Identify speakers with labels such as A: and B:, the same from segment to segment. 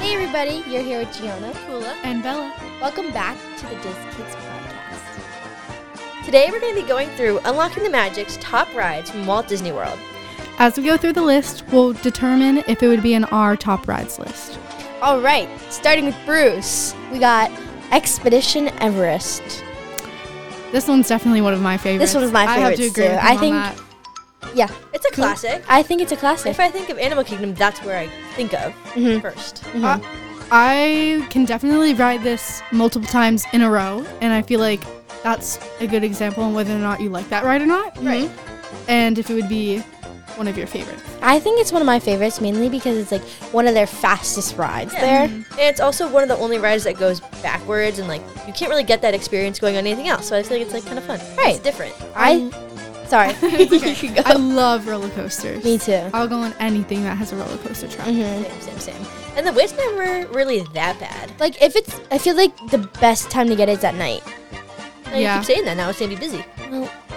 A: Hey everybody, you're here with Gianna, Pula.
B: And Bella.
A: Welcome back to the Disc Kids podcast. Today we're going to be going through Unlocking the Magic's top rides from Walt Disney World.
B: As we go through the list, we'll determine if it would be in our top rides list.
A: All right, starting with Bruce, we got Expedition Everest.
B: This one's definitely one of my favorites.
A: one's my
B: I have to
A: favorites,
B: agree
A: too.
B: with you
A: I
B: on
A: think-
B: that.
A: Yeah,
C: It's a classic.
A: Hmm? I think it's a classic.
C: If I think of Animal Kingdom, that's where I think of
A: Mhm.
C: first.
A: Mhm.
B: I can definitely ride this multiple times in a row, and I feel like that's a good example on whether or not you like that ride or not, Mm-hmm.
A: Right.
B: and if it would be one of your favorites.
A: I think it's one of my favorites mainly because it's like one of their fastest rides
C: Yeah.
A: there.
C: And it's also one of the only rides that goes backwards, and like you can't really get that experience going on anything else. So I feel like it's like kind of fun.
A: Right.
C: It's different.
A: I sorry.
B: okay.
A: You can go.
B: I love roller coasters.
A: Me too.
B: I'll go on anything that has a roller coaster track.
A: hmm
C: Same, same, same. And the wait's never really that bad.
A: Like if it's, I feel like the best time to get it is at night.
C: Now You
B: Yeah.
C: keep saying that now. It's gonna be busy.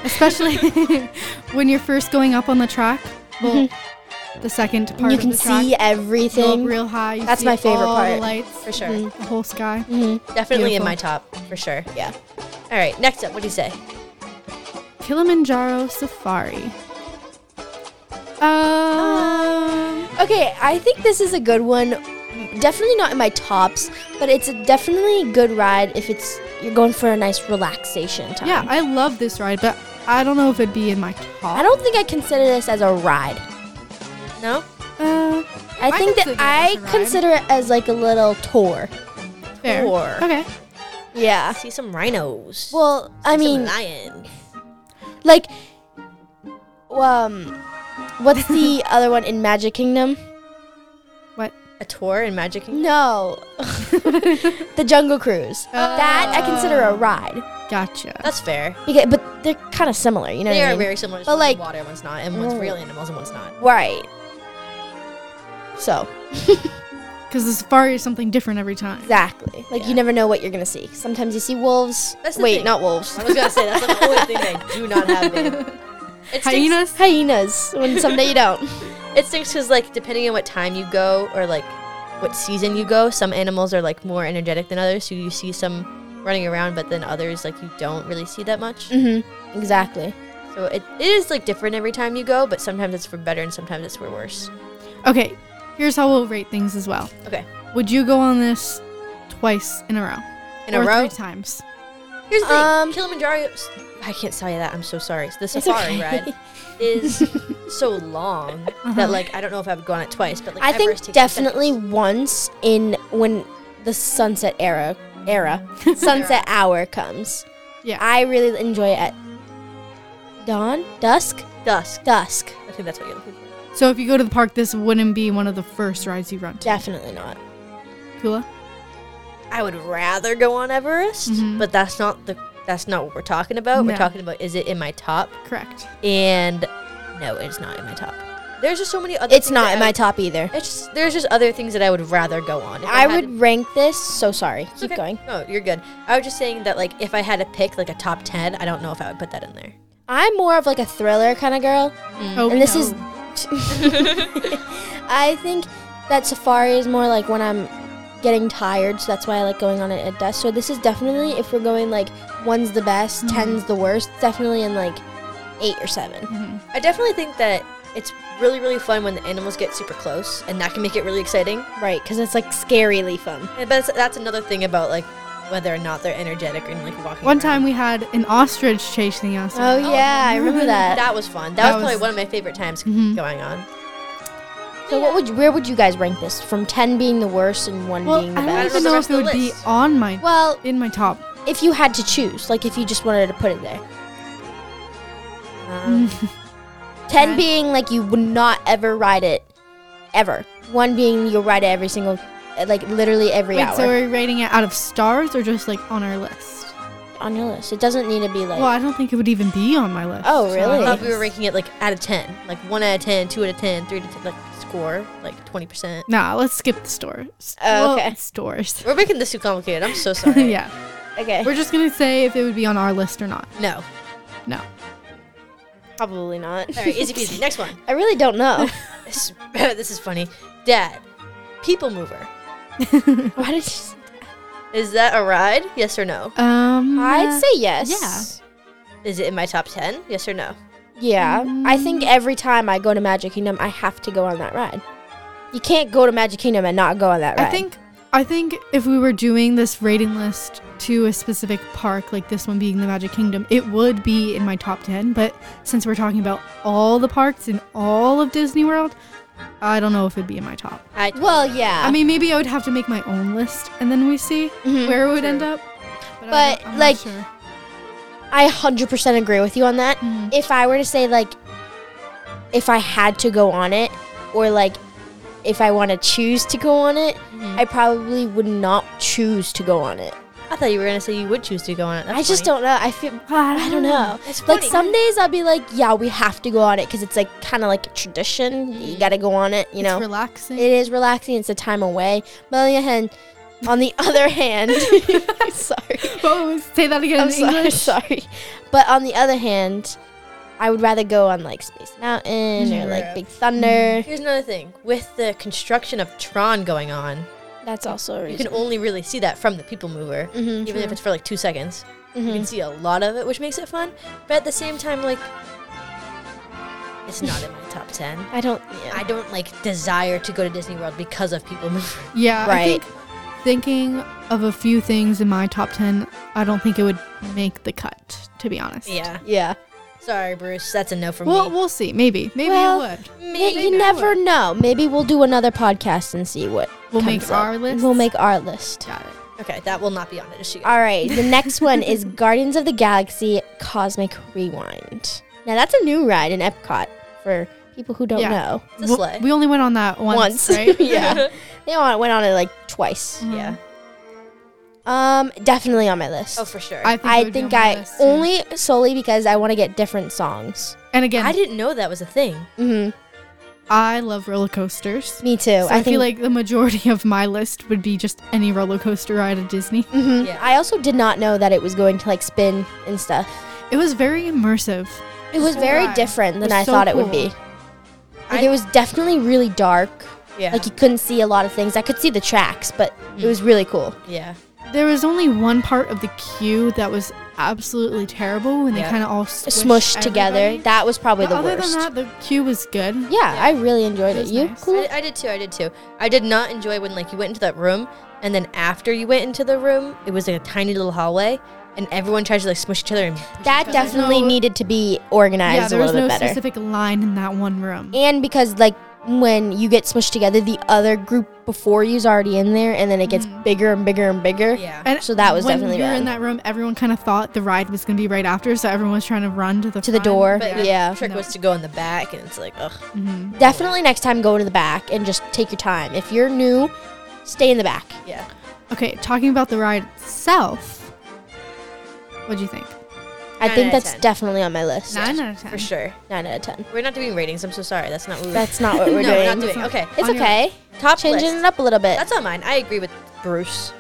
B: especially when you're first going up on the track. Well, the second part
A: Mm-hmm. you
B: of
A: can
B: the track,
A: see
B: you go up
A: everything.
B: real high. you
A: That's
B: see
A: my favorite
B: all The
A: part.
B: lights,
C: For sure.
A: Mhm.
B: the whole sky.
A: Mhm.
C: Definitely in
B: Beautiful.
C: my top for sure.
A: Yeah.
C: All right. Next up, what do you say?
B: Kilimanjaro Safari. Um,
A: Okay, I think this is a good one. Definitely not in my tops, but it's a definitely good ride if it's you're going for a nice relaxation time.
B: yeah, I love this ride, but I don't know if it'd be in my top.
A: I don't think I consider this as a ride.
C: No.
B: Uh,
A: I,
B: I
A: think that
B: consider it as
A: I
B: a ride.
A: consider it as like a little tour.
B: fair.
C: Or
B: Okay.
A: Yeah.
C: see some rhinos.
A: Well, I
C: See some
A: mean,
C: lions.
A: like, um, what's the other one in Magic Kingdom?
B: What?
C: A tour in Magic Kingdom.
A: No, the Jungle Cruise.
C: Oh.
A: That I consider a ride.
B: Gotcha.
C: That's fair.
A: Because, but they're kind of similar, you know.
C: They
A: what I
C: are
A: mean?
C: very similar. Just
A: But,
C: one's
A: like-
C: water, one's not, and one's
A: Mm.
C: real animals, and one's not.
A: right. So
B: Because the safari is something different every time.
A: exactly, like
C: Yeah.
A: you never know what you're gonna see. Sometimes you see wolves.
C: That's the
A: Wait,
C: thing.
A: not wolves.
C: I was gonna say that's like the only thing they do not have. There. It stinks
B: Hyenas.
A: Hyenas. When someday you don't.
C: It stinks because, like, depending on what time you go or like what season you go, some animals are like more energetic than others, so you see some running around, but then others like you don't really see that much.
A: Mm-hmm. Exactly.
C: So it, it is like different every time you go, but sometimes it's for better and sometimes it's for worse.
B: Okay. Here's how we'll rate things as well.
C: Okay,
B: Would you go on this twice in a row?
C: in a
B: Or
C: row.
B: three times.
C: Here's the thing:
A: Um,
C: Kilimanjaro. I can't tell you that. I'm so sorry. The safari
A: okay.
C: ride is so long that like I don't know if I've gone it twice, but like
A: I think
C: Everest takes
A: definitely
C: seconds.
A: once in when the sunset era era sunset hour comes.
B: Yeah.
A: I really enjoy it at dawn, dusk,
C: dusk.
A: dusk.
C: I think that's what you're looking for.
B: So if you go to the park, this wouldn't be one of the first rides you run to.
A: Definitely not.
B: Kula?
C: I would rather go on Everest,
A: Mm-hmm.
B: Mhm.
C: but that's not the that's not what we're talking about.
B: No.
C: We're talking about is it in my top?
B: Correct.
C: And no, it's not in my top. There's just so many other.
A: It's
C: things
A: not
C: that
A: in
C: I
A: my
C: would-
A: top either.
C: It's just, there's just other things that I would rather go on. If
A: I
C: had
A: would rank this. So sorry.
C: to-
A: Keep
C: Okay.
A: going.
C: No, you're good. I was just saying that like if I had to pick like a top ten, I don't know if I would put that in there.
A: I'm more of like a thriller kind of girl,
B: Oh,
A: Mm. and this
B: no.
A: is. I think that safari is more like when I'm getting tired, so that's why I like going on it at dusk. So this is definitely if we're going like one's the best, ten's the worst. Definitely in like eight or seven.
C: I definitely think that it's really really fun when the animals get super close, and that can make it really exciting.
A: Right, because it's like scarily fun.
C: And- But that's, that's another thing about like whether or not they're energetic and like walking.
B: One
C: around.
B: time we had an ostrich chasing us.
A: Oh, yeah, I remember that.
C: Mm-hmm.
A: Mm-hmm.
C: That was fun. That,
B: That
C: was, probably
B: was-
C: one of my favorite times going on.
A: So what would you, where would you guys rank this? From ten being the worst and one
B: well,
A: being the
B: I don't
A: best.
B: even
C: know
B: know
C: the
B: if
C: rest
B: it
C: of
B: would
C: the
B: be
C: list.
B: on my
A: Well,
B: in my top.
A: if you had to choose, like if you just wanted to put it there, Mm-hmm.
C: Um,
A: ten
B: Okay.
A: being like you would not ever ride it, ever. One being you'll ride it every single, like literally every
B: Wait,
A: hour
B: so are we rating it out of stars or just like on our list?
A: on your list. It doesn't need to be like.
B: Well, I don't think it would even be on my list.
A: Oh,
B: so-
A: really?
C: I thought we were ranking it like out of 10. Like 1 out of 10, 2 out of 10, 3 out of 10, like score, like 20%.
B: Nah, let's skip the stores.
A: Oh,
B: Well,
A: okay.
B: it's stores.
C: We're making this too complicated. I'm so sorry.
B: yeah.
A: Okay.
B: We're just going to say if it would be on our list or not.
C: No.
B: No.
A: Probably not.
C: All right, easy peasy. Next one.
A: I really don't know.
C: This, this is funny. Dad, People Mover.
A: Why did you? s-
C: Is that a ride? Yes or no?
B: um,
A: I'd
B: uh,
A: say yes.
C: Is it in my top 10? Yes or no?
A: Yeah. I think
B: Mm.
A: every time I go to Magic Kingdom, I have to go on that ride. You can't go to Magic Kingdom and not go on that ride.
B: I think I think if we were doing this rating list to a specific park, like this one being the Magic Kingdom, it would be in my top ten. But since we're talking about all the parks in all of Disney World, I don't know if it'd be in my top.
C: I
A: Well, yeah.
B: I mean, maybe I would have to make my own list, and then we see
A: Mhm.
B: where it would
C: True.
B: end up. I
A: But,
B: don't- I'm not
A: like-
B: sure.
A: I 100% agree with you on that.
C: Mm-hmm.
B: Mhm.
A: If I were to say, like, if I had to go on it, or like, if I want to choose to go on it,
C: Mhm.
A: I probably would not choose to go on it.
C: I thought you were gonna say you would choose to go on it. That's
A: I just
C: funny.
A: don't know. I feel, I don't know.
C: It's
A: Like,
C: funny.
A: some days I'll be like, yeah, we have to go on it because it's like kind of like a tradition.
C: Mm-hmm.
A: You got to go on it, you know?
B: it's relaxing.
A: It is relaxing. It's a time away. But on the other hand, on the other hand, sorry,
B: Oh, say that again
A: I'm
B: in
A: sorry,
B: English.
A: sorry. But on the other hand, I would rather go on like Space Mountain or like
C: Sure.
A: Big Thunder.
B: Mm-hmm.
C: Here's another thing. With the construction of Tron going on,
A: That's also a
C: you can only really see that from the People Mover,
A: Mhm.
C: even if it's for like two seconds. You can
A: Mhm.
C: see a lot of it, which makes it fun. But at the same time, like, it's not in my top ten.
A: I don't.
C: I
A: Yeah.
C: don't like desire to go to Disney World because of People Mover.
B: Yeah, I
A: Right.
B: think thinking of a few things in my top 10, I don't think it would make the cut, to be honest.
C: Yeah.
A: yeah.
C: Sorry, Bruce. That's a no for
B: Well,
C: me.
B: we'll see. Maybe. Maybe
A: Well,
B: it would.
A: Y- you never know. Maybe we'll do another podcast and see what
B: We'll
A: comes
B: make
A: up.
B: our list.
A: We'll make our list.
B: Got it.
C: Okay, that will not be on it. Is she?
A: All right. The next one is Guardians of the Galaxy Cosmic Rewind. Now that's a new ride in Epcot for people who don't
B: Yeah.
A: know.
C: It's a
B: We'll-
C: sleigh.
B: We only went on that
A: Once.
B: once, right?
A: yeah. They all went on it like twice.
B: Mhm.
C: yeah.
A: Um, definitely on my list.
C: Oh, for sure.
B: I think, it
A: I
B: would be on
A: think
B: my
A: I
B: list, too.
A: only solely because I want to get different songs.
B: And again,
C: I
B: I,
C: didn't know that was a thing.
A: hmm
B: love roller coasters.
A: Me too.
B: Mm-hmm. So I, feel like the majority of my list would be just any roller coaster ride at Disney.
A: Mhm.
C: Yeah.
A: I also did not know that it was going to like spin and stuff.
B: It was very immersive.
A: It was
B: So
A: very
B: wide.
A: different than
B: was
A: I
B: so
A: thought it would
B: cool.
A: be. Like,
C: I-
A: it was definitely really dark.
C: Yeah.
A: Like you couldn't see a lot of things. I could see the tracks, but
B: Mm.
A: it was really cool.
C: yeah.
B: There was only one part of the queue that was absolutely terrible when
C: Yeah.
B: they kind of all
A: Smushed together.
B: everybody.
A: That was probably
B: But
A: the
B: other
A: worst.
B: than that, the queue was good.
A: yeah, I really enjoyed
B: It
A: it.
B: was
A: You
B: nice.
A: cool?
C: I, I did too. I did too. I did not enjoy when like you went into that room, and then after you went into the room, it was like a tiny little hallway, and everyone tried to like smush each other. And
A: That
B: Because there's
A: definitely
B: no-
A: needed to be
B: Yeah,
A: organized
B: there
A: a
B: was
A: little
B: no
A: bit better.
B: specific line in that one room.
A: and because like when you get smushed together, the other group before you's already in there, and then it gets bigger and bigger and bigger.
C: Mm-hmm. yeah.
B: And
A: so that was
B: when
A: definitely
B: we were
A: bad.
B: in that room. Everyone kind of thought the ride was going to be right after, so everyone was trying to run to the
A: To the
B: front.
A: door.
C: But
A: Yeah.
C: the
A: Yeah.
C: trick
B: No.
C: was to go in the back, and it's like ugh.
B: Mhm.
A: Definitely next time, go to the back and just take your time. If you're new, stay in the back.
C: Yeah.
B: Okay, talking about the ride itself, what do you think?
A: I
C: Nine
A: think
C: out of
A: that's
C: 10.
A: definitely on my list.
B: Nine out of ten.
C: For sure.
A: Nine out of ten.
C: We're not doing ratings. I'm so sorry. That's not what we were
A: That's not what we're
C: no,
A: doing.
C: we're not doing. Okay.
A: It's
B: On your
A: okay.
C: Top
A: Changing
C: list.
A: it up a little bit.
C: That's on mine. I agree with Bruce.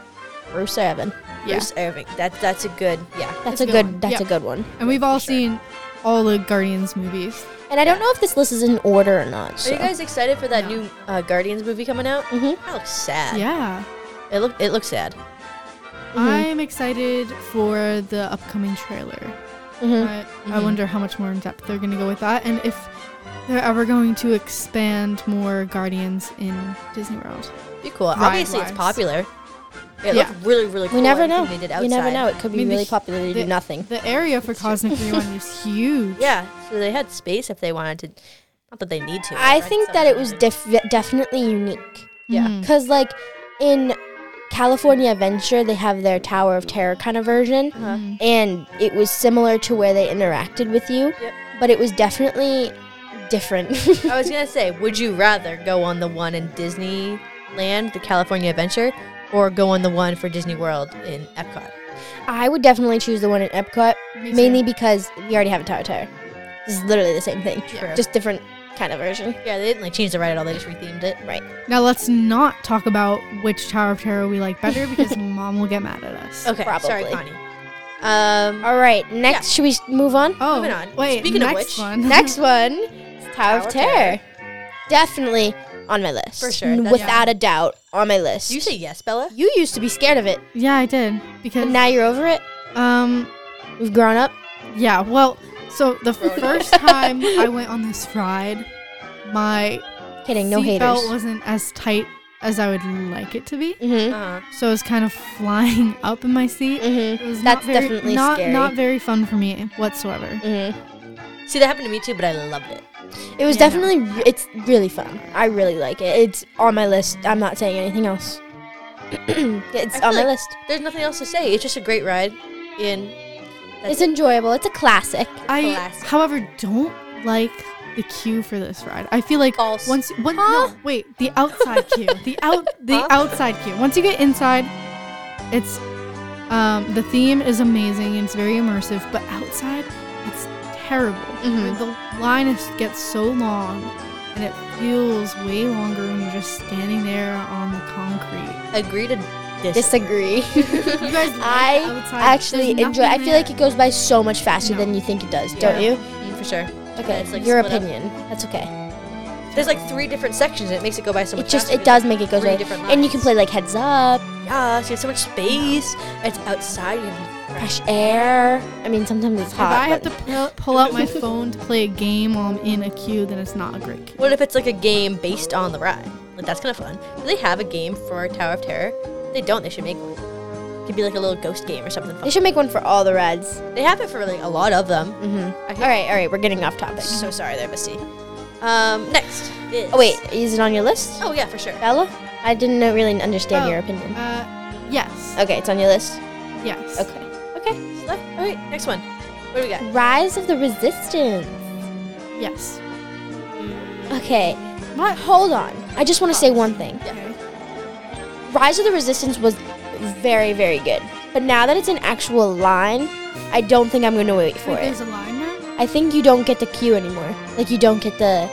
A: Bruce Evan.
B: Yeah.
C: Bruce Irving. That that's a good. Yeah.
A: That's
B: It's
A: a good.
B: one.
A: That's
B: Yeah.
A: a good one.
B: And we've all
C: For sure.
B: seen all the Guardians movies.
A: And I don't know if this list is in order or not.
C: Are
A: So.
C: you guys excited for that
B: No.
C: new uh, Guardians movie coming out?
A: Mhm.
C: That looks sad.
B: Yeah.
C: It look it looks sad.
A: Mm-hmm.
B: I'm excited for the upcoming trailer.
A: Mhm.
B: I, I
C: Mhm.
B: wonder how much more in depth they're going to go with that, and if they're ever going to expand more Guardians in Disney World.
C: Be cool. Obviously, it's
B: Ride-wise.
C: popular. It
B: Yeah.
C: looked really really cool.
A: We never
C: everything
A: know.
C: They did
A: You never
C: outside.
A: know. It could be
B: I mean, the
A: really
B: hu-
A: popular to do
B: the-
A: nothing.
B: The area for Cosmic Rewind is huge.
C: Yeah. So they had space if they wanted to. Not that they need to.
A: I
C: right?
A: think
C: So-
A: that it was def- definitely unique.
C: Yeah.
B: Mhm.
A: Because, like, in California Adventure, they have their Tower of Terror kind of version.
C: Uh-huh.
B: Mhm.
A: And it was similar to where they interacted with you.
C: Yep.
A: But it was definitely different.
C: I was gonna say, would you rather go on the one in Disneyland, the California Adventure, or go on the one for Disney World in Epcot?
A: I would definitely choose the one in Epcot,
C: uh-huh.
B: Me too.
A: mainly because we already have a Tower of Terror. This is literally the same thing,
C: True.
A: just different kind of version.
C: Yeah, they didn't like change the ride at all. They just rethemed it.
A: Right.
B: Now let's not talk about which Tower of Terror we like better because mom will get mad at us.
C: Okay. Sorry,
A: Probably.
C: Connie. Um.
A: All right. Next, should we s- move on?
B: Oh,
C: Moving on.
B: wait.
C: Speaking of
B: next
C: which-
B: one.
A: Next one, is Tower,
C: Tower
A: of
C: of
A: Terror. Definitely on my list.
C: For sure, that's-
A: Without a doubt, on my list.
C: Do you say yes, Bella?
A: you used to be scared of it.
B: Yeah, I did because
A: And now you're over it?
B: um
A: We've grown up?
B: yeah. Well, so the
C: Grown up.
B: first time I went on this ride, my
A: Kidding, no haters.
B: seatbelt wasn't as tight as I would like it to be,
A: mm-hmm.
C: Uh-huh.
B: so it was kind of flying up in my seat.
A: Mm-hmm.
B: It was
A: That's
B: not very,
A: definitely
B: not
A: scary.
B: not very fun for me whatsoever.
A: Mm-hmm.
C: See, that happened to me too, but I loved it.
A: It was
B: Yeah, no.
A: definitely, re- it's really fun. I really like it. It's on my list. I'm not saying anything else. it's
C: I feel
A: on my
C: like
A: list.
C: There's nothing else to say. It's just a great ride. And that's
A: It's enjoyable. It's a classic.
B: I,
C: Classic.
B: however, don't like the queue for this ride. I feel like
C: False.
B: once one
A: Huh?
B: no, wait, the outside queue, the out the
C: Huh?
B: outside queue. Once you get inside, it's um the theme is amazing and it's very immersive, but outside it's terrible.
A: Mhm.
B: The line is, gets so long and it feels way longer when you're just standing there on the concrete.
C: agree to dis-
A: Disagree.
B: You guys like
A: I
B: outside.
A: actually
B: There's
A: enjoy. I
B: nothing
A: feel like
B: there.
A: it goes by so much faster
B: No.
A: than you think it does,
C: Yeah.
A: don't you?
C: Mm, for sure.
A: Okay,
C: it's, like,
A: your
C: split up.
A: opinion. That's okay.
C: There's like three different sections. And it makes it go by so much.
A: It just
C: faster
A: it does
C: because
A: make it go
C: three
A: away,
C: different
A: and you can
C: lines.
A: play like heads up,
C: Yeah, so you have so much space. It's outside. You have fresh.
A: fresh air. I mean, sometimes it's
B: If
A: hot.
B: I have to
A: but-
B: pull, pull out my phone to play a game while I'm in a queue, then it's not a great queue.
C: What if it's like a game based on the ride? Like that's kind of fun. Do they have a game for Tower of Terror? If they don't. They should make one. Could be like a little ghost game or something.
A: they
C: Fun.
A: should make one for all the rides.
C: They have it for like a lot of them.
A: Mm-hmm. All right, all right, we're getting off topic.
C: So sorry there, Misty. Um, next. Is
A: Oh wait, is it on your list,
C: Oh yeah, for sure.
A: Bella? I didn't know- really understand
B: Oh.
A: your opinion.
B: Uh, yes.
A: Okay, it's on your list.
B: Yes.
A: Okay, okay.
C: All right, next one. What do we got?
A: Rise of the Resistance.
B: Yes.
A: Okay,
B: What? Oh.
A: hold on. I just want to say one thing.
B: Okay.
A: Rise of the Resistance was very, very good. But now that it's an actual line, I don't think I'm going to wait for
B: Wait,
A: it.
B: there's a line now?
A: I think you don't get the queue anymore. Like you don't get the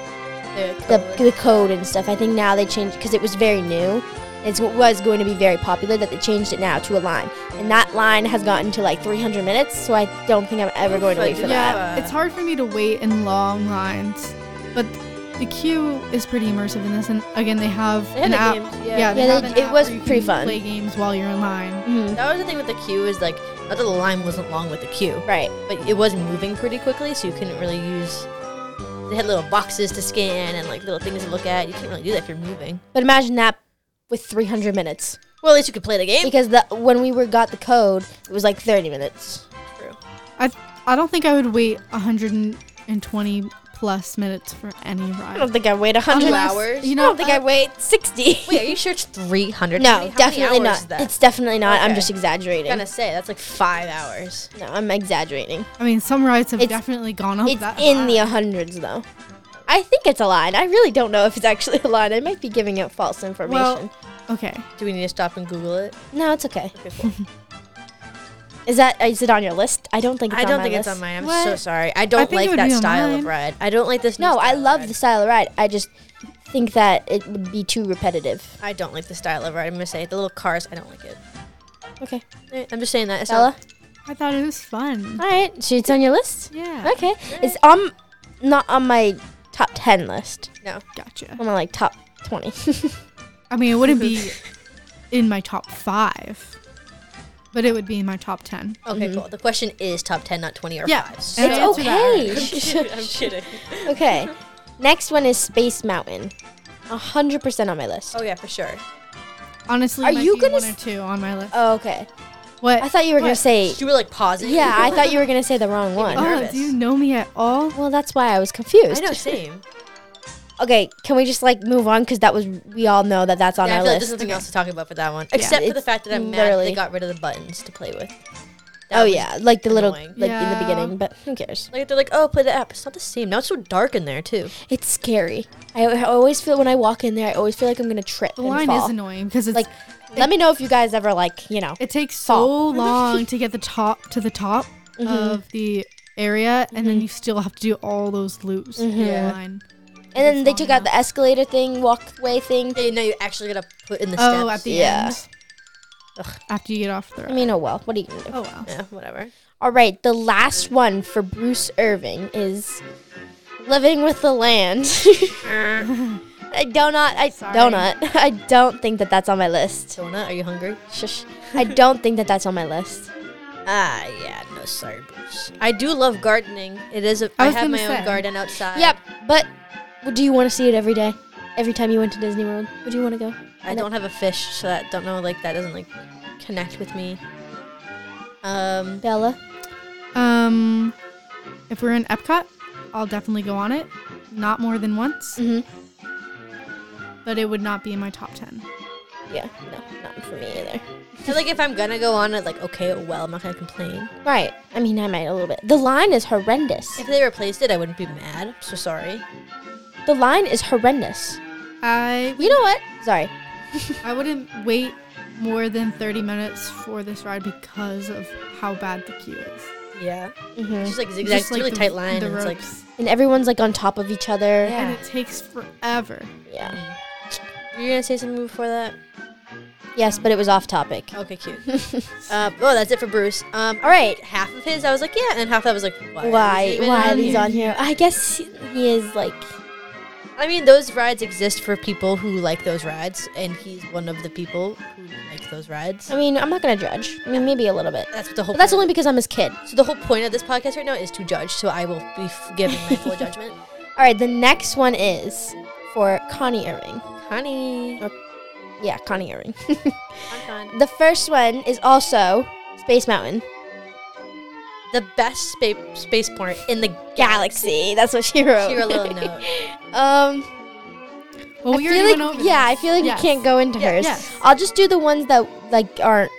A: the, the code and stuff. I think now they changed because it was very new. It's, it was going to be very popular that they changed it now to a line, and that line has gotten to like 300 minutes. So I don't think I'm ever going to wait for that.
B: Yeah, it's hard for me to wait in long lines, but the queue is pretty immersive in this. And again, they have
C: They had
B: an
C: the
B: app.
C: games,
B: Yeah,
C: yeah.
B: they
A: Yeah,
B: have
A: they-
B: an
A: it
B: app
A: was
B: where you
A: pretty
B: can
A: fun.
B: Play games while you're in line.
A: Mhm.
C: That was the thing with the queue is like not that the line wasn't long with the queue,
A: Right.
C: but it was moving pretty quickly, so you couldn't really use. They had little boxes to scan and like little things to look at. You can't really do that if you're moving.
A: But imagine that with 300 minutes
C: Well, at least you could play the game.
A: because the when we were got the code, it was like 30 minutes.
B: I I don't think I would wait 120 plus minutes for any
A: I
B: ride.
A: don't think I wait 100
C: Two
B: Unless-
C: hours?
B: You
A: I
B: know,
A: don't think I wait 60.
C: Wait, are you sure it's 300? How
A: No,
C: many- how many
A: definitely
C: hours
A: not.
C: is that?
A: It's definitely not. I'm
C: Okay.
A: just exaggerating.
C: gonna say that's like five hours.
A: No, I'm exaggerating.
B: I mean, some rides have
A: It's-
B: definitely gone
C: Oh,
B: up.
A: it's
B: that
A: in
B: high.
A: the hundreds, though. I think it's a line. I really don't know if it's actually a line. I might be giving out false information.
B: Well- Okay.
C: Do we need to stop and Google it?
A: no, it's okay.
C: Okay, cool.
A: Is that is it on your list? I don't think it's
C: I
A: on
C: don't
A: my
C: think
A: list.
C: it's on mine. I'm
B: What?
C: so sorry. I
B: I
C: don't
B: think it
C: like
B: would
C: that
B: be on
C: style
B: mine.
C: of ride. I don't like this. New
A: No, I
C: style of
A: love
C: ride.
A: the style of ride. I just think that it would be too repetitive.
C: I don't like the style of ride. I'm gonna say it. the little cars. I don't like it.
A: Okay,
C: Eh, I'm just saying that. It's
A: Bella.
C: not-
B: I thought it was fun.
A: All right, so it's on your list.
B: Yeah.
A: Okay, it's on not on my top ten list.
C: no.
B: Gotcha.
A: I'm on like top twenty.
B: I mean, it wouldn't be in my top five, but it would be in my top ten.
C: Okay, cool. The question is top ten, not twenty or
B: Yeah.
C: five.
B: And
C: So
B: it's
A: it's
B: answer that already.
A: okay.
C: I'm kidding.
A: Okay. Next one is Space Mountain. 100% on my list.
C: Oh yeah, for sure.
B: Honestly,
A: Are
B: it might
A: you
B: be
A: gonna
B: one or
A: s-
B: two on my list?
A: Oh, okay.
B: what?
A: I thought you were going to
B: What?
A: say.
C: You were like pausing.
A: Yeah, I thought you were going to say the wrong one.
B: oh,
C: nervous.
B: do you know me at all?
A: Well, that's why I was confused.
C: I know. Same.
A: Okay, can we just like move on? Because that was, we all know that that's on
C: yeah, I
A: our
C: feel like there's
A: list.
C: nothing else to talk about for that one, except for the
A: It's
C: fact that I'm mad that
A: literally-
C: they got rid of the buttons to play with. That
A: oh,
C: was-
A: yeah. Like the little,
C: annoying.
A: like in the
B: Yeah.
A: beginning, but who cares?
C: Like they're like, oh, play the app. It's not the same. Now it's so dark in there too.
A: It's scary. I, I always feel, when I walk in there, I always feel like I'm going to trip.
B: The
A: and
B: line
A: fall.
B: is annoying because it's
A: Like, let me know if you guys ever, like, you know.
B: it takes so
A: fall.
B: long to get the top to the top
C: Mm-hmm.
B: of the area, and then you still have to do all those loops. in the
C: Mm-hmm. Yeah.
B: line.
A: And then they
B: long
A: took out the
B: enough.
A: escalator thing, walkway thing.
C: Yeah, now you actually gotta put in the steps.
B: Oh, at the
A: Yeah.
B: end. After you get off the.
A: I mean, oh well. What are you going to do?
B: oh wow.
C: yeah, whatever.
A: All right, the last one for Bruce Irving is Living with the Land. I don't not. I
B: Sorry.
A: donut. I don't think that that's on my list.
C: Jonah, are you hungry?
A: Shush. I don't think that that's on my list.
C: Ah, yeah, no, sorry, Bruce. I do love gardening. It is. A,
B: I
C: I,
B: was
C: have
B: gonna
C: my
B: say.
C: own garden outside.
A: Yep. But do you want to see it every day? Every time you went to Disney World, would you want to go?
C: I don't have a fish, so that don't know. Like that doesn't like connect with me. Um,
A: Bella.
B: Um, if we're in Epcot, I'll definitely go on it. Not more than once,
A: Mm-hmm.
C: Mm.
B: but it would not be in my top ten.
A: Yeah. No, not for me either.
C: I feel like if I'm gonna go on it, like okay, oh well, I'm not gonna complain.
A: Right. I mean, I might a little bit. The line is horrendous.
C: If they replaced it, I wouldn't be mad. I'm so sorry.
A: The line is horrendous.
B: I
A: You know what? Sorry.
B: I wouldn't wait more than thirty minutes for this ride because of how bad the queue is.
C: Yeah,
A: hmm
C: it's just like zigzag,
B: It's
C: it's really tight line.
B: The
C: and it's like
B: ropes.
A: And everyone's like on top of each other.
C: Yeah.
B: and it takes forever.
A: Yeah.
C: you're gonna say something before that.
A: Yes, but it was off topic.
C: Okay, cute. uh, oh, that's it for Bruce. Um,
A: All right.
C: half of his I was like yeah, and half I was like why? is he
A: Why?
C: even
A: Why
C: on
A: he's
C: here?
A: on here? I guess he is like.
C: I mean, those rides exist for people who like those rides, and he's one of the people who like those rides.
A: I mean, I'm not gonna judge. I mean, maybe a little bit.
C: That's what the whole.
A: But that's
C: point
A: only because I'm his kid.
C: So the whole point of this podcast right now is to judge. So I will be f- giving my full judgment.
A: All right. The next one is for Connie Irving.
C: Honey,
A: Yeah, Connie Irving.
C: Con, con.
A: the first one is also Space Mountain
C: the best space spaceport in the galaxy.
A: Galaxy. That's what she wrote.
C: She wrote a little note.
A: Um,
B: Well,
A: I
B: we
A: feel
B: already went
A: like
B: over
A: yeah, I
B: this.
A: feel like
B: Yes.
A: we can't go into
B: Yeah,
A: hers.
B: yes.
A: I'll just do the ones that like aren't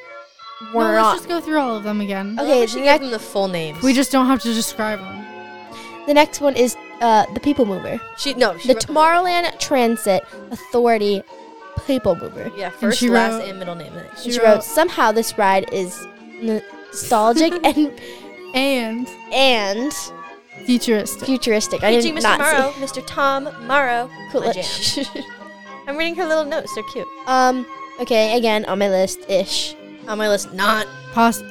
B: No,
A: were
B: let's
A: on.
B: just go through all of them again.
A: Okay,
C: Okay, she
A: the
C: gave
A: next-
C: them the full names.
B: We just don't have to describe them.
A: The next one is uh, the People Mover,
C: she no she
A: the
C: wrote-
A: Tomorrowland Transit Authority People Mover.
C: Yeah, first,
B: she
C: last,
B: wrote-
C: and middle name.
A: And She
B: She
A: wrote,
B: wrote-
A: somehow this ride is nostalgic and
B: and
A: and
B: futuristic.
A: futuristic. I
C: Teaching
A: did
C: Mr.
A: not
C: Morrow,
A: see.
C: Mr. Tom Morrow. My jam.
A: Coolidge.
C: I'm reading her little notes. They're cute.
A: um. Okay. Again, on my list, ish.
C: On my list, not.
B: Pos-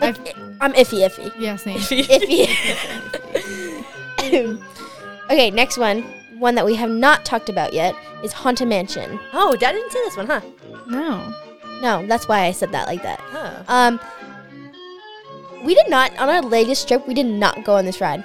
A: Like, I'm iffy, iffy.
B: yes, Nate.
A: iffy. okay, next one. One that we have not talked about yet is Haunted Mansion.
C: Oh, Dad didn't say this one, huh?
B: No.
A: No, that's why I said that like that.
C: Oh.
A: Um, we did not on our latest trip. We did not go on this ride.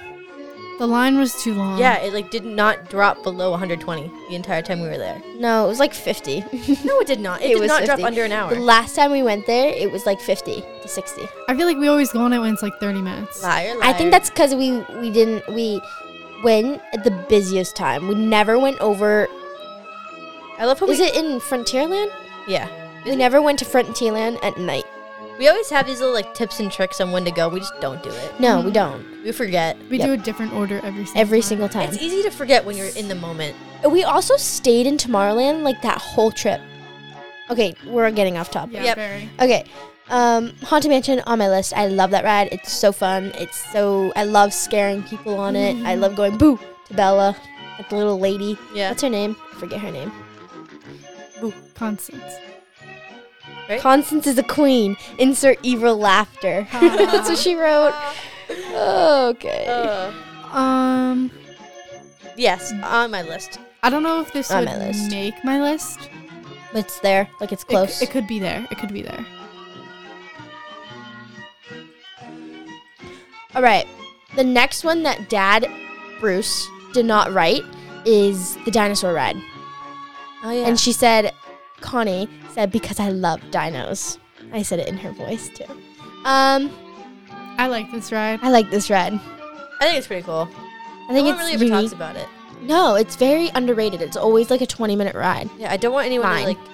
B: The line was too long.
C: Oh. Yeah, it like did not drop below 120 the entire time we were there.
A: No, it was like fifty.
C: No, it did not. It,
A: It
C: did
A: was
C: not drop
A: 50.
C: under an
A: The
C: hour.
A: last time we went there, it was like 50 to 60.
B: I feel like we always go on it when it's like 30 minutes.
C: Liar, liar.
A: I think that's because we we didn't we went at the busiest time. We never went over.
C: I love how
A: Is
C: we.
A: it in Frontierland?
C: yeah.
A: We never went to Frontierland at night.
C: We always have these little like tips and tricks on when to go. We just don't do it.
A: No, we don't.
C: We forget.
B: We
A: Yep.
B: do a different order every single
A: Every
B: time.
A: single time.
C: It's easy to forget when you're in the moment.
A: We also stayed in Tomorrowland like that whole trip. Okay, we're getting off topic.
B: Yeah,
C: Yep.
B: very.
A: Okay. Um, Haunted Mansion on my list. I love that ride. It's so fun. It's so I love scaring people on it. I love going boo to Bella, like the little lady.
C: Yeah.
A: What's her name? I forget her name.
B: Constance.
C: Right?
A: Constance is a queen. Insert evil laughter. That's what she wrote. Okay.
C: Oh. Uh.
B: Um,
C: yes, on my list.
B: I don't know if this
A: On
B: would
A: my list.
B: make my list. It c-
A: but it's there. Like it's close.
B: It, could be there. It could be there.
A: All right. The next one that Dad Bruce did not write is the dinosaur ride.
C: Oh yeah.
A: And she said, Connie said, because I love dinos. I said it in her voice too. Um,
B: I like this ride.
A: I like this ride.
C: I think it's pretty cool.
A: I think
C: no one
A: it's
C: really ever
A: unique.
C: talks about it.
A: No, it's very underrated. It's always like a 20 minute ride.
C: Yeah, I don't want anyone
A: Mine.
C: to like.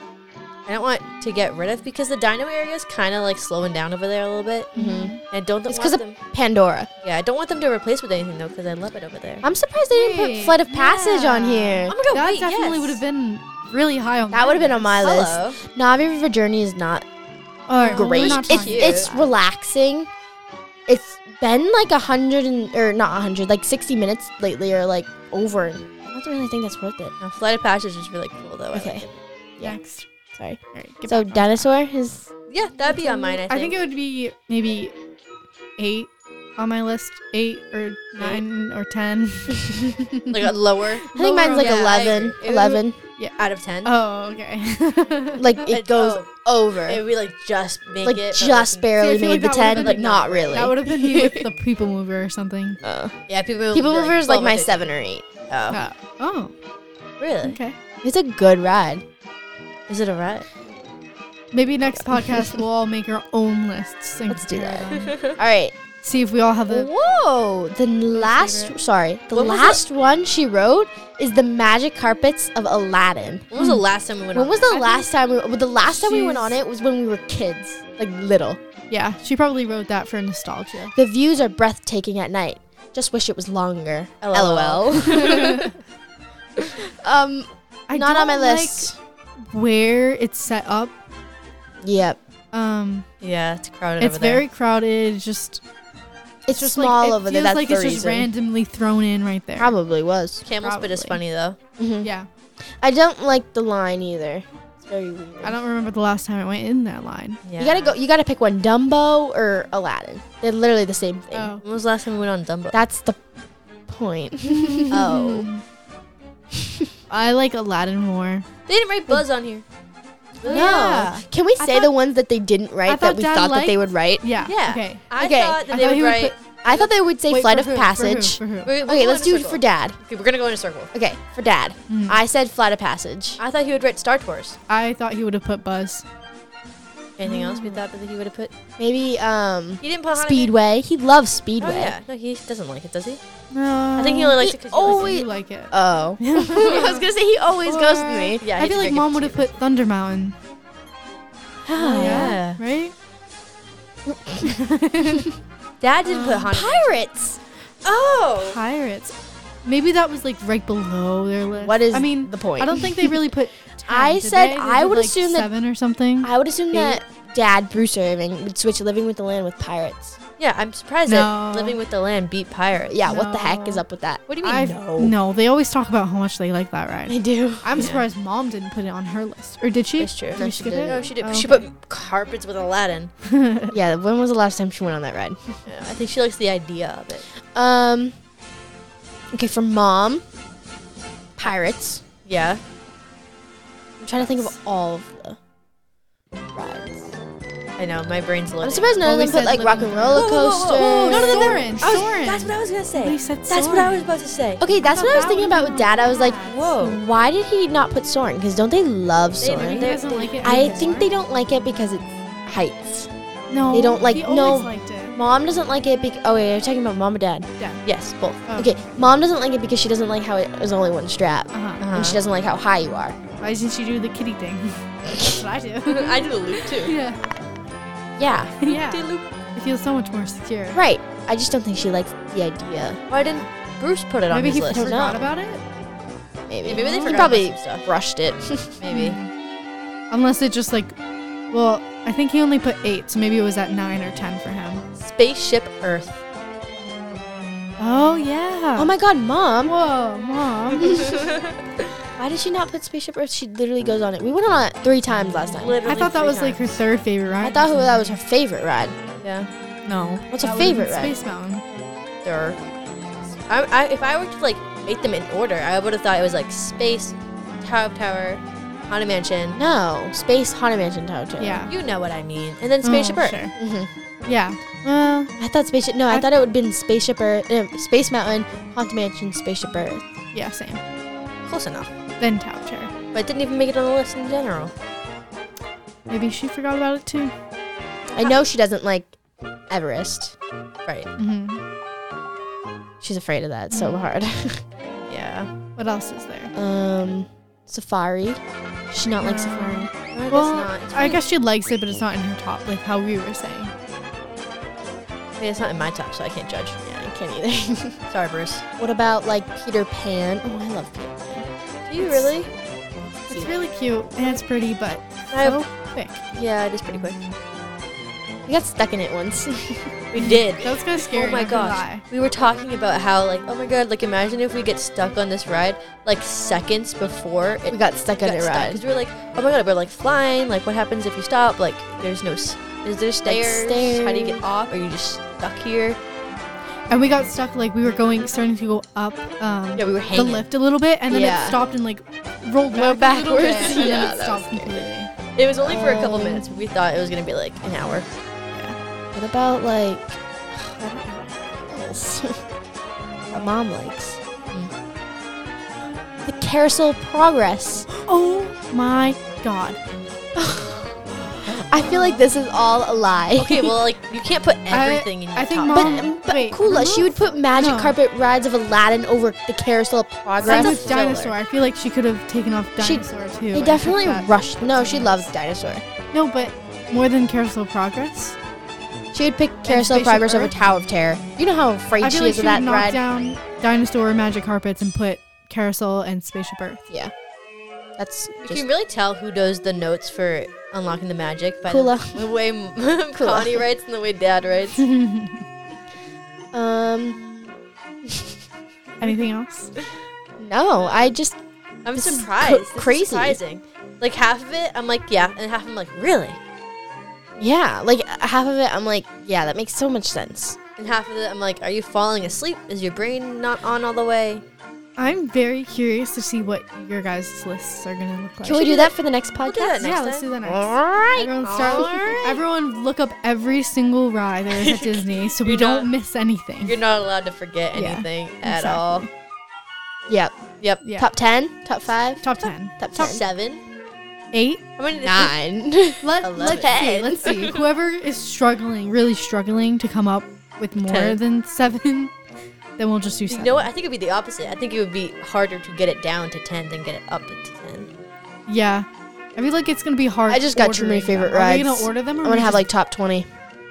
C: I don't want to get rid of because the dino area is kind of like slowing down over there a little bit.
A: Mm-hmm.
C: And I don't
A: It's
C: th-
A: because
C: want
A: of
C: them.
A: Pandora.
C: Yeah, I don't want them to replace with anything though because I love it over there.
A: I'm surprised they didn't put
B: Hey,
A: Flight of Passage on
B: yeah.
A: here.
C: Oh my god,
B: that
C: wait,
B: definitely
C: yes.
B: would have been really high on
A: That would have been on my list.
C: Hello.
A: Navi River Journey is not
B: All right, well, Oh, we're
A: great.
B: not
A: it's
B: talking about
A: it's
B: that.
A: relaxing. It's been like a hundred and or not a hundred, like sixty minutes lately, or like over. I don't really think that's worth it.
C: No, Flight of Passage is really cool though. I
A: Okay.
C: like it.
A: yeah.
B: Next.
A: Sorry.
B: All right, get
A: So
B: back on.
A: dinosaur is
C: Yeah, that'd be on mine. I think.
B: it would be maybe eight on my list eight or nine or ten.
C: Like a lower
A: I think mine's like
C: Yeah, I
A: 11.
C: agree. It would-
A: 11.
C: out of ten.
B: oh, okay.
A: Like it
C: It's-
A: goes
C: oh,
A: over.
C: It would like just make
A: like
C: it but,
A: just
C: like,
A: barely
B: See, I feel
A: made
B: like
A: the
B: that would've
A: 10,
B: been,
A: but
B: like,
A: not really.
B: that would have been me with the people mover or something.
A: Uh,
C: Yeah, people
A: People
C: would be,
A: Mover is like
C: "Well,
A: my
C: what
A: 7 or 8.
C: the-
B: Uh, oh,
C: Oh, really?
B: okay.
A: It's a good ride.
C: Is it a rat?
B: Maybe next podcast we'll all make our own lists. And
A: Let's do
B: compare
A: that.
B: them.
A: All right.
B: See if we all have the.
A: Whoa! The last,
B: favorite.
A: sorry, the
C: What was
A: last one she wrote is the Magic Carpets of Aladdin.
C: When was the last time we went
A: When
C: on?
A: was
B: I
A: the
B: think
A: last time? We, well, the last time we went
B: she's-
A: on it was when we were kids, like little.
B: Yeah, she probably wrote that for nostalgia.
A: The views are breathtaking at night. Just wish it was longer.
C: LOL.
A: LOL. um,
B: I
A: not on my
B: don't like
A: list.
B: where it's set up.
A: Yep.
B: Um,
C: yeah, it's crowded
B: it's
C: over there.
B: very crowded. it's Just
A: It's
B: just
A: small
B: like, it
A: over there.
B: feels
A: That's
B: like
A: the
B: it's
A: reason.
B: just randomly thrown in right there.
A: Probably was.
C: Camel's bit is
B: Probably.
C: funny though.
A: Mhm.
B: Yeah,
A: I don't like the line either. It's very weird.
B: I don't remember the last time I went in that line.
C: Yeah.
A: You gotta go. You gotta pick one: Dumbo or Aladdin. They're literally the same thing.
B: Oh,
C: When was the last time we went on Dumbo?
A: That's the point. oh
B: I like Aladdin more.
C: they didn't write Buzz on here.
A: no!
B: Yeah.
A: Can we
B: I
A: say the
B: thought-
A: ones that they didn't write that
B: thought
A: we
B: Dad
A: thought that they would write?
B: Yeah.
C: Yeah.
B: Okay.
C: I
A: Okay,
C: thought that
B: I
C: they
B: thought
C: would
B: he would
C: write.
A: I thought they would say
B: Wait,
A: Flight
B: for
A: of
B: who? For who?
A: Passage.
B: For who?
C: Wait, we're
A: Okay,
C: going
A: let's
C: in a
A: do it
C: circle.
A: for Dad.
C: Okay, we're gonna go in a circle.
A: Okay, for Dad.
B: Mm.
A: I said Flight of Passage.
C: I thought he would write Star Tours.
B: I thought he would have put Buzz.
C: Anything else we thought that he would have put?
A: Maybe um
C: He didn't put Hanukkah.
A: Speedway. He loves
C: Oh
A: Speedway.
C: yeah, no, he doesn't like it, does he?
B: No.
C: I think he only likes
A: He
C: it because
B: I
A: always-
C: oh,
B: think
A: wait.
B: you like it.
A: Oh. I was gonna say he always
B: Or-
A: goes to me.
C: yeah.
B: I feel like Mom would have put Thunder Mountain,
A: Oh,
C: yeah.
B: right?
C: Dad didn't put Hanukkah.
A: Pirates.
C: Oh,
B: Pirates. Maybe that was like right below their list.
A: What is
B: I mean,
A: the point?
B: I don't think they really put. 10,
A: I
B: did
A: said
B: they? They
A: I
B: did,
A: would
B: like,
A: assume that-
B: seven or something.
A: I would assume
B: Maybe.
A: that Dad Bruce Irving would switch Living with the Land with Pirates.
C: yeah. I'm surprised
B: No.
C: that Living with the Land beat Pirates.
A: Yeah. What the heck
B: No.
A: is up with that?
C: What do you mean?
B: I've-
C: no.
B: No, they always talk about how much they like that ride.
A: I do.
B: I'm surprised Mom didn't put it on her list, or did she?
C: That's true.
B: Did
A: No,
B: you
A: she
B: skip
A: didn't.
B: it?
C: No, she did.
B: Oh,
C: She
B: okay.
C: put carpets with Aladdin.
A: Yeah. When was the last time she went on that ride?
C: Yeah, I think she likes the idea of it.
A: Um. Okay, for mom, pirates.
C: Yeah.
A: I'm trying to think of all of the rides.
C: I know. My brain's a
A: I'm
C: little.
A: surprised none
B: Well, we
A: of them put
B: said
A: like Rock and
B: Living
A: Roller
C: Whoa, whoa, whoa,
A: Coaster.
C: whoa, whoa, none of them-
B: Soarin',
C: I was-
B: Soarin'.
C: That's what I was gonna say.
B: They said
C: That's what I
B: Soarin'.
C: was about to say.
A: Okay, that's what I was thinking about with Dad. I was like,
C: Whoa.
A: why did he not put Soren? Because don't they love Soren?
C: they-
B: He doesn't like it.
A: I
B: anymore.
A: think they don't like it because it's heights.
B: No,
A: they don't like-
B: He
A: no.
B: always liked it.
A: Mom doesn't like it because. Oh, wait, you're talking about mom or dad.
C: Yes, both.
B: Oh.
A: Okay, mom doesn't like it because she doesn't like how it was only one strap.
B: Uh-huh.
A: And she doesn't like how high you are.
B: Why doesn't she do the kitty thing? That's what I do.
C: I did a loop too.
B: yeah.
A: Yeah,
C: Did a
B: Yeah.
C: loop.
B: It feels so much more secure.
A: right. I just don't think she likes the idea,
C: Why didn't Bruce put it on
B: Maybe
C: his
B: he
C: list?
A: don't
B: forgot
A: know.
B: about it.
A: maybe.
C: Yeah, maybe
A: He
C: they forgot about
A: probably
C: some stuff.
A: brushed it.
C: Maybe.
B: Mm-hmm. Unless it just like, well, I think he only put eight, so maybe it was at nine or ten for him.
C: Spaceship Earth.
B: Oh yeah.
A: oh my god, mom.
B: Whoa, mom.
A: Why did she not put Spaceship Earth? She literally goes on it. We went on it three times last time.
B: I thought that was like her third favorite ride.
A: I thought who- that was her favorite ride.
C: Yeah.
B: No.
A: What's her
B: That would've
A: favorite
B: been
A: ride?
B: Space Mountain.
C: Durr. I, I, if I were to like make them in order, I would have thought it was like Space, Tower of Power, Haunted Mansion.
A: No, Space Haunted Mansion Tower. Two.
B: Yeah.
C: You know what I mean. And then Spaceship
B: Oh,
C: Earth.
B: sure.
A: Mhm.
B: Yeah. Uh,
A: I thought Spaceship. No, I,
B: I-
A: thought it would have been Spaceship Earth, uh, Space Mountain, Haunted Mansion, Spaceship Earth.
B: yeah, same.
C: Close enough.
B: Then Tower Chair.
C: But it didn't even make it on the list in general.
B: Maybe she forgot about it too.
A: I know she doesn't like Everest.
C: Right.
B: hmm
A: She's afraid of that so hard.
C: Yeah.
B: What else is there?
A: um, Safari. Does she not like Safari.
C: I
B: Well,
C: guess not. It's,
B: I guess she likes it, but it's not in her top, like how we were saying.
C: I mean, it's not in my top, so I can't judge. Yeah.
A: I can't either.
C: Sorry, Bruce.
A: what about like Peter Pan? Oh, I love Peter Pan.
C: Do you really?
B: It's really cute and it's pretty, but
C: I-
B: so quick.
C: Yeah, it is pretty quick.
A: We got stuck in it once.
C: We did.
B: That was kind of scary.
C: Oh my
B: not gonna
C: gosh.
B: lie.
C: We were talking about how like, oh my god, like imagine if we get stuck on this ride like seconds before it
A: we got stuck on
C: got
A: it
C: stuck.
A: ride.
C: Cuz we were like, oh my god, we're like flying, like what happens if you stop? Like there's no s- is there stairs? How do you
A: stairs.
C: get off? Are you just stuck here?
B: and we got stuck. Like we were going, starting to go up um,
C: Yeah, we were
B: the
C: hanging.
B: lift a little bit, and then
D: Yeah.
B: it stopped and like rolled
C: Go
B: back a little bit,
C: backwards.
B: and then
D: Yeah,
B: it
D: that
B: stopped
D: was
B: completely.
C: It was only for a couple
A: Um,
C: minutes. We thought it was gonna be like an hour.
A: What about like I don't know what else my mom likes?
B: Hmm.
A: The carousel progress.
B: Oh my god!
A: I feel like this is all a lie.
C: Okay, well, like you can't put everything in. Your
B: I think
C: top
B: mom-
A: But,
C: ten.
B: Um,
A: but
B: wait, Oh.
A: Kula, she would put magic
B: No.
A: carpet rides of Aladdin over the carousel progress.
B: Same
C: That's a
B: with
C: thriller.
B: dinosaur. I feel like she could have taken off
A: She-
B: dinosaur too.
A: They
B: and
A: definitely
B: took that.
A: rushed. No, she loves dinosaur.
B: No, but more than Carousel Progress.
A: She would pick Carousel
B: Spaceship
A: Progress over
B: Earth?
A: Tower of Terror. You know how
B: I
A: afraid she
B: feel like
A: is
B: she
A: of
B: would
A: that
B: knock
A: ride.
B: down dinosaur magic carpets and put Carousel and Spaceship Earth.
A: Yeah, that's
C: you
A: just
C: can really tell who does the notes for unlocking the magic by
A: Kula.
C: the, the way Connie writes and the way Dad writes.
A: um.
B: Anything else?
A: No, I just
C: I'm
A: This is
C: surprised.
A: cr-
C: This is
A: crazy.
C: surprising. Like half of it, I'm like, yeah, and half I'm like, really,
A: yeah, like half of it. I'm like, yeah, that makes so much sense.
C: and half of it, I'm like, are you falling asleep? Is your brain not on all the way?
B: I'm very curious to see what your guys' lists are gonna look like.
A: Can we do that for the next podcast?
C: do that
B: yeah,
C: next
B: let's
C: time?
B: do that next.
A: All right.
B: Everyone start. Everyone look up every single ride there is at Disney, so we
C: You're
B: don't
C: not-
B: miss anything.
C: You're not allowed to forget
B: Yeah,
C: anything at all.
A: Yep.
C: Yep.
B: Yeah.
A: Top ten, top five,
B: Top ten.
A: top,
C: Top
A: ten.
C: seven.
B: Eight.
C: How many?
A: nine.
B: Let,
C: Eleven.
B: let's see. Let's see. Whoever is struggling, really struggling to come up with more
C: Ten.
B: than seven, then we'll just do
C: You
B: seven.
C: know what? I think it would be the opposite. I think it would be harder to get it down to ten than get it up to ten.
B: Yeah. I feel like it's gonna be hard.
A: I just got two of my
B: ordering
A: favorite
B: them. Are we
A: rides.
B: gonna order them? Or
A: I'm
B: are we
A: gonna have
B: just-
A: like top twenty.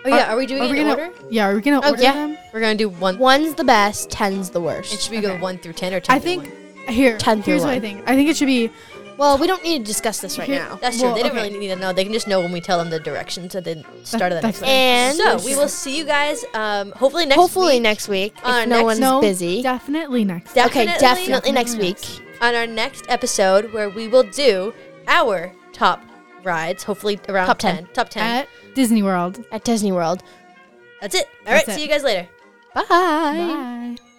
C: Oh yeah, are we doing
B: are
C: it
B: we
C: in
B: gonna,
C: order?
B: Yeah. Are we gonna
A: Oh,
B: order
A: yeah.
B: them?
C: We're gonna do one.
A: One's the best, ten's the
C: It
A: worst.
C: should we
B: Okay.
C: go one through ten or ten?
B: I
C: through
B: think
C: one?
B: here.
A: 10 through
B: Here's what I
A: one.
B: think. I think it should be
A: Well, we don't need to discuss this right
B: Here-
A: now.
C: that's true.
B: Well,
C: they don't
B: okay.
C: really need to know. They can just know when we tell them the directions at the start of the
B: that's
C: next.
B: fine.
C: one.
A: And
C: so we will see you guys. Um, hopefully next.
A: hopefully
C: week
A: next week if
C: Uh,
A: no
C: next-
A: one's
B: no.
A: busy.
B: Definitely next.
A: okay,
C: Definitely-
A: definitely next
B: Definitely
A: week.
C: on our next episode where we will do our top rides. Hopefully around
A: Top 10.
C: Top ten.
B: at Disney World.
A: At Disney World.
C: that's it. All right.
B: That's it.
C: See you guys later.
A: Bye.
B: Bye.